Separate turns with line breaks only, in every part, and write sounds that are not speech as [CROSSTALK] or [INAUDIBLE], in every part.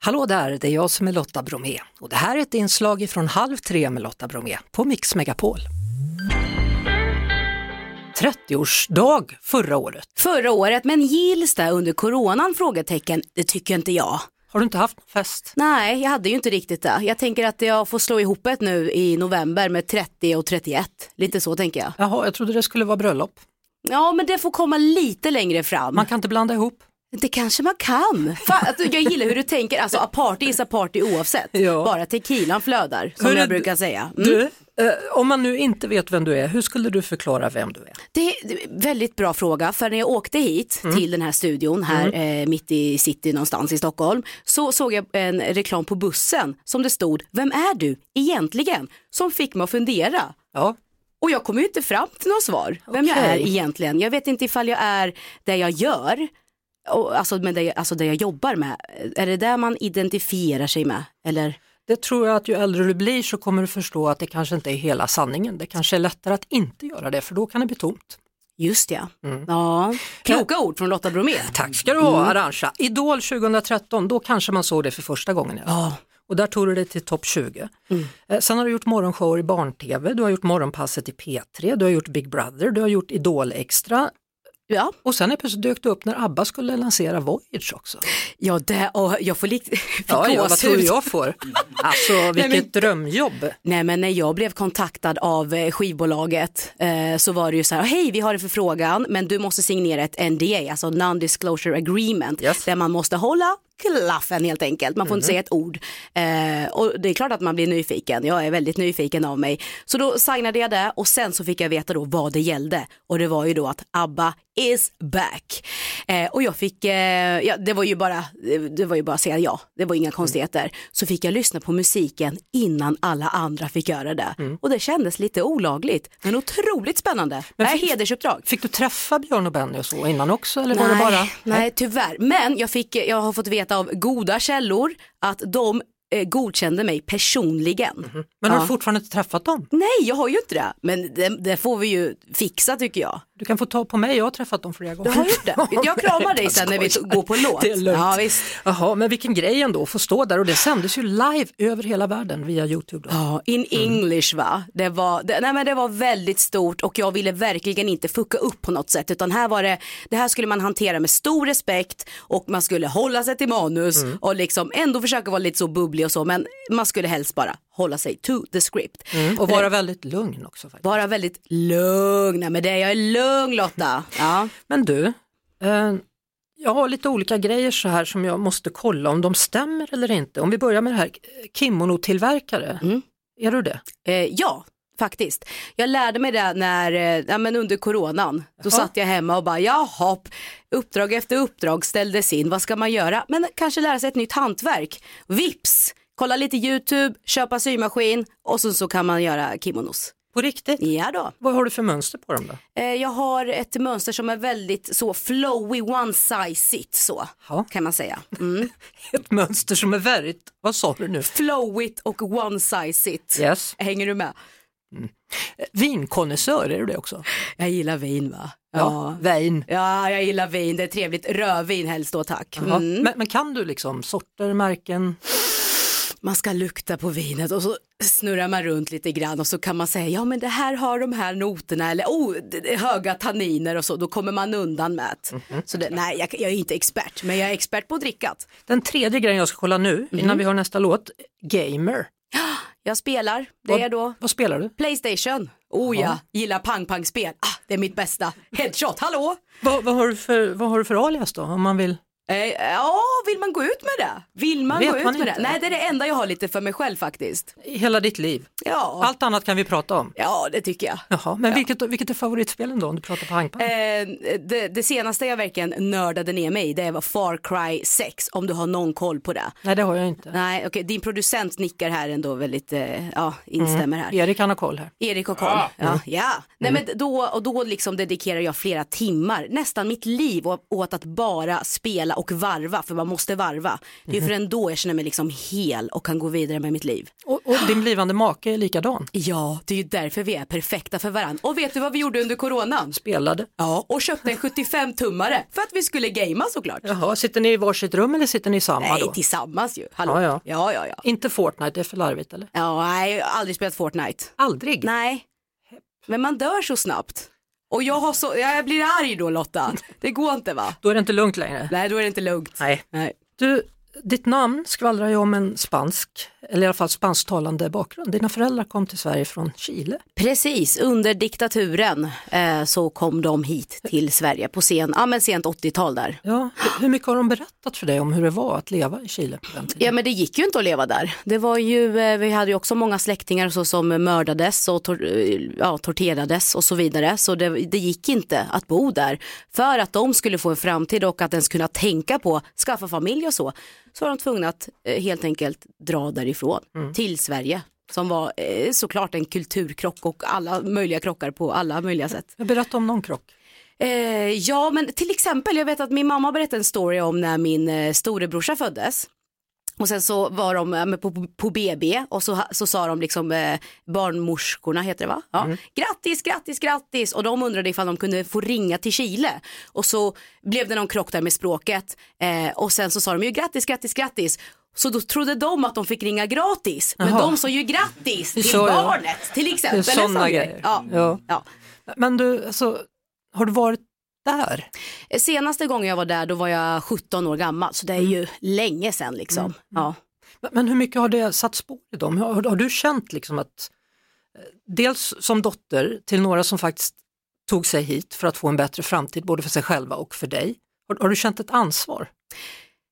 Hallå där, det är jag som är Lotta Bromé och det här är ett inslag från Halv tre med Lotta Bromé på Mix Megapol. 30-årsdag förra året.
Förra året, men gills det under coronan? Frågetecken. Det tycker inte jag.
Har du inte haft någon fest?
Nej, jag hade ju inte riktigt det. Jag tänker att jag får slå ihop ett nu i november med 30 och 31. Lite så tänker jag.
Jaha, jag trodde det skulle vara bröllop.
Ja, men det får komma lite längre fram.
Man kan inte blanda ihop.
Det kanske man kan.
[LAUGHS]
Fan, att jag gillar hur du tänker, alltså aparty is aparty oavsett.
Ja.
Bara tequilan flödar, som
Hörru,
jag brukar säga. Mm.
Du, eh, om man nu inte vet vem du är, hur skulle du förklara vem du är?
Det är en väldigt bra fråga, för när jag åkte hit
Mm.
till den här studion här eh, mitt i city någonstans i Stockholm så såg jag en reklam på bussen som det stod Vem är du egentligen? Som fick mig att fundera.
Ja,
Och jag kom ju inte fram till något svar, vem jag
Okej.
är egentligen. Jag vet inte ifall jag är det jag gör, och, alltså, men det, alltså det jag jobbar med. Är det där man identifierar sig med? Eller?
det tror jag att ju äldre du blir så kommer du förstå att det kanske inte är hela sanningen. Det kanske är lättare att inte göra det för då kan det bli tomt.
Just ja.
Mm.
ja. Kloka ord från Lotta Bromé.
Tack ska du ha Arantxa. Mm. Idol 2013, då kanske man såg det för första gången. Ja.
Ja.
Och där tog du dig till topp 20.
Mm.
Eh, Sen har du gjort morgonshower i barn-tv, du har gjort Morgonpasset i P3, du har gjort Big Brother, du har gjort Idol Extra
ja.
och sen är plötsligt dök du upp när ABBA skulle lansera Voyage också.
Ja, det, och jag får [LAUGHS] likt
Ja, ja, vad tror du
gåshud.
jag
[LAUGHS]
får? Alltså vilket drömjobb.
Nej, men när jag blev kontaktad av eh, skivbolaget eh, så var det ju så här, hej vi har en förfrågan men du måste signera ett NDA, alltså non-disclosure agreement,
Yes.
där man måste hålla klaffen helt enkelt, man får inte säga ett ord. Eh, och det är klart att man blir nyfiken, jag är väldigt nyfiken av mig. Så då signade jag det och sen så fick jag veta då vad det gällde och det var ju då att ABBA is back. Eh, och jag fick, eh, ja, det var ju bara, det var ju bara att säga ja, det var inga konstigheter. Så fick jag lyssna på musiken innan alla andra fick göra det. Och det kändes lite olagligt, men otroligt spännande.
Men
det är
fick-
hedersuppdrag.
Fick du träffa Björn och Benny och så innan också eller var det
nej,
bara?
nej, tyvärr. Men jag, fick, jag har fått veta av goda källor att de eh, godkände mig personligen.
Men har du
Ja.
fortfarande inte träffat dem?
Nej, jag har ju inte det. Men det, det får vi ju fixa tycker jag.
Du kan få ta på mig, jag har träffat dem flera gånger.
Du har
[LAUGHS]
gjort det. Jag kramar dig
Jag
sen när vi
skojar.
går på låt.
Det är lugnt.
Ja, visst.
Jaha, men vilken grej ändå att få stå där och det sändes ju live över hela världen via Youtube. Då.
Ja, in English va? Det var, det, nej men det var väldigt stort och jag ville verkligen inte fucka upp på något sätt utan här var det, det här skulle man hantera med stor respekt och man skulle hålla sig till manus och liksom ändå försöka vara lite så bubblig och så men man skulle helst bara hålla sig to the script.
Mm. Och vara väldigt lugn också. Faktiskt.
Vara väldigt lugn, nej men det, jag är lugn Lotta. Ja.
Men du, eh, jag har lite olika grejer så här som jag måste kolla om de stämmer eller inte. Om vi börjar med det här eh, kimono-tillverkare, är du det?
Eh, ja, faktiskt. Jag lärde mig det när, eh, ja, men under coronan.
Jaha.
Då satt jag hemma och bara, jaha, uppdrag efter uppdrag ställdes in, vad ska man göra? Men kanske lära sig ett nytt hantverk. Vips, kolla lite YouTube, köpa symaskin och sen så kan man göra kimonos.
På riktigt?
Ja då.
Vad har du för mönster på dem då?
Eh, jag har ett mönster som är väldigt så flowy, one size it så.
Ja.
Kan man säga. Mm.
[LAUGHS] Ett mönster som är väldigt, vad sa du nu?
Flow it och one size it.
Yes.
Hänger du med?
Eh, Vinkonnässör, är du det också?
Jag gillar vin va?
Vin.
Ja, jag gillar vin. Det är trevligt. Rödvin helst då, tack.
Ja,
Mm.
Men, men kan du liksom sorter, märken?
Man ska lukta på vinet och så snurrar man runt lite grann och så kan man säga ja men det här har de här noterna eller oh, det- det är höga tanniner och så. Då kommer man undan med det.
Mhm.
Så det, nej, jag, jag är inte expert, men jag är expert på att drickat.
Den tredje grejen jag ska kolla nu innan vi har nästa låt, gamer.
Jag spelar.
Vad-
Det är då
Vad spelar du?
Playstation. Oh ja, gillar pang-pang-spel. Ah, det är mitt bästa. Headshot, hallå!
Vad, vad, har du för, vad har du för alias då? Om man vill...
Eh, Ja, vill man gå ut med det? Vill man
Vet
gå ut
man
med
inte.
det? Nej, det är det enda jag har lite för mig själv faktiskt.
I Hela ditt liv.
Ja,
Allt annat kan vi prata om.
ja det tycker jag.
Jaha, men vilket, vilket är favoritspelen då om du pratar på hangpang?
Eh, det, det senaste jag verkligen nördade ner mig i det var Far Cry 6 om du har någon koll på det.
Nej det har jag inte.
Nej, okej, din producent nickar här ändå väldigt, eh, ja, instämmer här.
Erik han har koll här.
Erik har koll. Ja, ja. Nej, men då, och då liksom dedikerar jag flera timmar, nästan mitt liv å- åt att bara spela och varva, för man måste varva. Det är ju förrän då jag känner mig liksom hel och kan gå vidare med mitt liv.
Och, och din blivande make är likadan,
Ja, det är ju därför vi är perfekta för varandra. Och vet du vad vi gjorde under coronan?
spelade.
Ja, och köpte en 75-tummare för att vi skulle gamea såklart.
Jaha, sitter ni i varsitt rum eller sitter ni i samma
Nej,
då?
tillsammans ju. Hallå.
Ja, ja.
ja, ja, ja.
Inte Fortnite, det är för larvigt eller?
Ja, nej, jag har aldrig spelat Fortnite.
Aldrig.
Nej, men man dör så snabbt. Och jag, har så, jag blir arg då Lotta. Det går inte va?
Då är det inte lugnt längre.
Nej, då är det inte lugnt.
Nej.
Nej.
Du, ditt namn skvallrar ju om en spansk, eller i alla fall spansktalande bakgrund. Dina föräldrar kom till Sverige från Chile.
Precis, under diktaturen eh, så kom de hit till Sverige på sen, ja, men sent 80-tal där.
Ja, hur- hur mycket har de berättat för dig om hur det var att leva i Chile på den tiden?
Ja men det gick ju inte att leva där. Det var ju, eh, vi hade ju också många släktingar så som mördades och tor- eh, ja, torterades och så vidare. Så det, det gick inte att bo där. För att de skulle få en framtid och att ens kunna tänka på skaffa familj och så. Så var de tvungna att eh, helt enkelt dra därifrån till Sverige. Som var eh, såklart en kulturkrock och alla möjliga krockar på alla möjliga sätt.
Jag berättade om någon krock.
Eh, ja, men till exempel, jag vet att min mamma berättade en story om när min eh, storebrorsa föddes. Och sen så var de eh, men på, på BB och så, så sa de liksom eh, barnmorskorna heter det va? Ja.
Mm.
Grattis, grattis, grattis och de undrade ifall de kunde få ringa till Chile och så blev det någon krock där med språket eh, och sen så sa de ju grattis, grattis, grattis så då trodde de att de fick ringa gratis men
Jaha.
de sa ju grattis till
Så, ja.
barnet till exempel.
Det är såna
En sån grej.
grejer.
Ja.
Ja.
Ja.
Men du, alltså, har du varit där?
Senaste gången jag var där då var jag 17 år gammal så det är
Mm.
ju länge sedan liksom. Ja.
Men- Men hur mycket har det satt spår i dem? Har, har du känt liksom att, eh, dels som dotter till några som faktiskt tog sig hit för att få en bättre framtid både för sig själva och för dig, har, har du känt ett ansvar?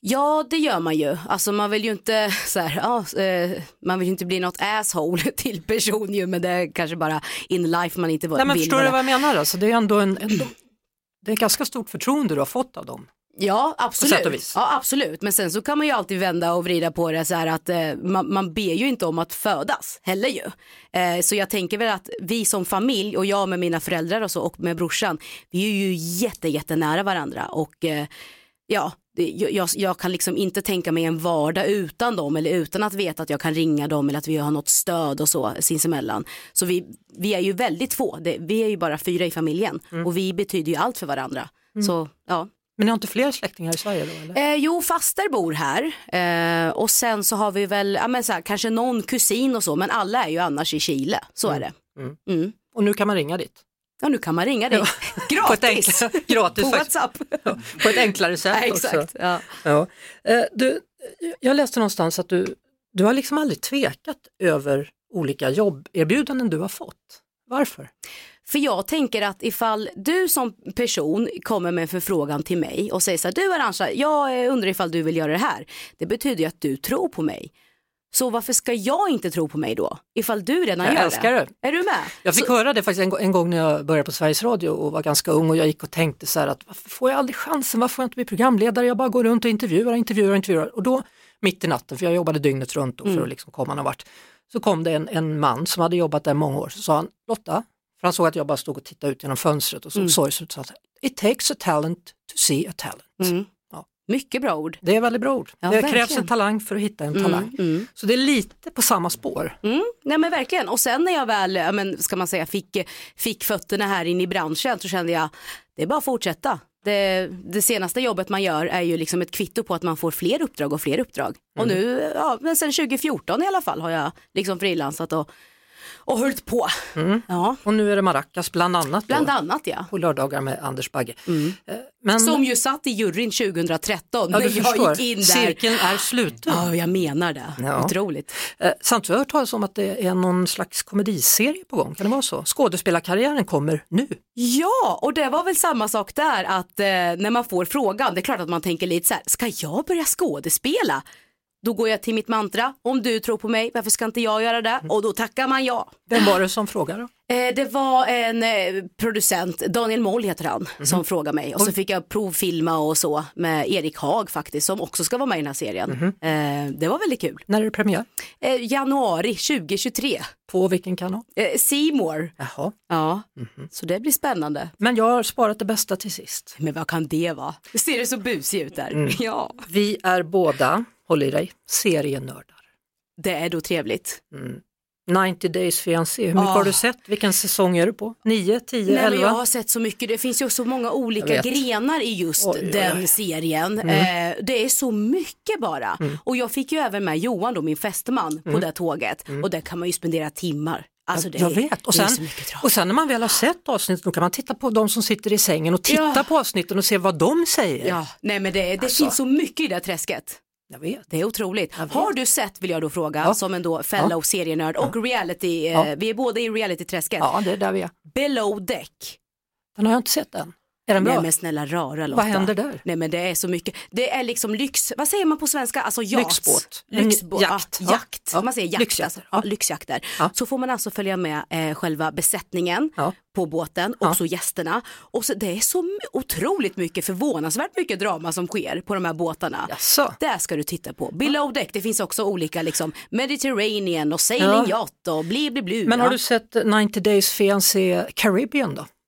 ja det gör man ju, alltså man vill ju inte [LAUGHS] så här, ja, eh, man vill ju inte bli något asshole [LAUGHS] till person ju men det är kanske bara in life man inte
Nej, men
vill
förstår du vad jag menar? Alltså, det är ändå en, en, det är ett ganska stort förtroende du har fått av dem.
Ja
På sätt och
absolut.
vis.
ja absolut, men sen så kan man ju alltid vända och vrida på det så här att eh, man, man ber ju inte om att födas heller ju. Eh, så jag tänker väl att vi som familj och jag med mina föräldrar och så och med brorsan, vi är ju jätte jättenära varandra och eh, ja, det, jag- jag, jag kan liksom inte tänka mig en vardag utan dem eller utan att veta att jag kan ringa dem eller att vi har något stöd och så sinsemellan. Så vi, vi är ju väldigt få, det, vi är ju bara fyra i familjen
Mm.
och vi betyder ju allt för varandra. Så ja.
Men ni har inte fler släktingar i Sverige då? Eller?
Eh, jo, faster bor här eh, och sen så har vi väl ja, men så här, kanske någon kusin och så, men alla är ju annars i Chile. Så är det.
Mm.
Mm.
Och nu kan man ringa dit?
Ja, nu kan man ringa dig
På ett,
gratis
enklare, [LAUGHS]
på
gratis faktiskt,
WhatsApp.
på ett enklare sätt
Ja,
också.
exakt. Ja.
Ja. Eh, Du, jag läste någonstans att du, du har liksom aldrig tvekat över olika jobberbjudanden du har fått. Varför?
För jag tänker att ifall du som person kommer med en förfrågan till mig och säger så här, du Arantxa, jag eh, undrar ifall du vill göra det här. Det betyder ju att du tror på mig. Så varför ska jag inte tro på mig då? Ifall du redan
Jag
gör
älskar det.
Är du med?
Jag fick höra det faktiskt en, gång- en gång när jag började på Sveriges Radio och var ganska ung och jag gick och tänkte så här att varför får jag aldrig chansen, varför får jag inte bli programledare, jag bara går runt och intervjuar, intervjuar, intervjuar och då mitt i natten, för jag jobbade dygnet runt då
Mm.
för att liksom komma någon vart, så kom det en, en man som hade jobbat där många år, så sa han Lotta, för han såg att jag bara stod och tittade ut genom fönstret och såg sorgset, så sa han It takes a talent to see a talent.
Mm.
Ja.
Mycket bra ord.
Det är väldigt bra ord.
Ja,
det krävs
verkligen.
en talang för att hitta en talang.
mm.
Så det är lite på samma spår.
Mm, nej men verkligen. Och sen när jag väl, ja, men, ska man säga, fick, fick fötterna här inne i branschen så kände jag, det är bara att fortsätta. Det, det senaste jobbet man gör är ju liksom ett kvitto på att man får fler uppdrag och fler uppdrag. Och
Mm.
nu, ja, men sen 2014 i alla fall har jag liksom frilansat och, och hållit på.
Mm.
Ja,
Och nu är det Maracas bland annat,
bland
då,
annat ja.
på lördagar med Anders Bagge.
Mm.
Eh, Men
Som ju satt i juryn 2013
ja,
när
du
jag
förstår,
gick in där.
cirkeln är sluten.
Ja, jag menar det.
Ja.
Otroligt.
Eh, Samtidigt har jag hört talas om att det är någon slags komediserie på gång, kan det vara så? Skådespelarkarriären kommer nu.
Ja, och det var väl samma sak där att eh, när man får frågan, det är klart att man tänker lite så här, ska jag börja skådespela? Då går jag till mitt mantra, om du tror på mig, varför ska inte jag göra det? Och då tackar man ja.
Vem var det som frågade?
Eh, Det var en eh, producent, Daniel Moll heter han, som frågade mig och så fick jag provfilma och så med Erik Haag faktiskt som också ska vara med i den här serien. Eh, Det var väldigt kul.
När är det premiär?
Eh, Januari 2023,
På vilken kanal?
Eh, Seymour.
Jaha.
Ja, så det blir spännande.
Men jag har sparat det bästa till sist.
Men vad kan det vara? Ser det så busig ut där?
Mm.
Ja,
Vi är båda, håll i dig, serienördar.
det är då trevligt.
90 Days Fiancé, hur mycket
Ah.
har du sett? Vilken säsong är du på? 9, 10,
Nej,
11?
men jag har sett så mycket, det finns ju så många olika
Jag vet.
grenar i just
Oj, Mm. oj, oj.
den serien. Eh, det är så mycket bara.
Mm.
Och jag fick ju även med Johan då, min fästman, på det tåget. Och där kan man ju spendera timmar. Alltså det,
Mm. jag
är-
vet, och sen,
det är så mycket trav.
och sen när man väl har sett avsnittet då kan man titta på de som sitter i sängen och titta
Ja.
på avsnitten och se vad de säger.
Ja, nej men det, det finns så mycket i det här träsket.
Jag Alltså. vet.
Det är otroligt. Har du sett, vill jag då fråga, som en då fellow serienörd och reality, eh, vi är båda i realityträsket,
Ja, det är där vi är.
below deck.
Den har jag inte sett än. Är den bra?
Nej men snälla rara Lotta.
händer där?
Nej men det är så mycket, det är liksom lyx, vad säger man på svenska, alltså yachts.
Lyxbåt.
Lyxbåt.
Jakt.
Ja, jakt.
Ja.
Man säger jakt.
Lyxjakt.
Alltså. Ja, lyxjakter.
Ja.
Så får man alltså följa med eh, själva besättningen
Ja.
på båten och så gästerna. Och så, det är så m- otroligt mycket, förvånansvärt mycket drama som sker på de här båtarna.
Jaså?
Där ska du titta på. Below deck, det finns också olika liksom Mediterranean och sailing
Ja.
yacht och bli bli bli.
Men har
Ja.
du sett 90 Days Fiancé Caribbean då?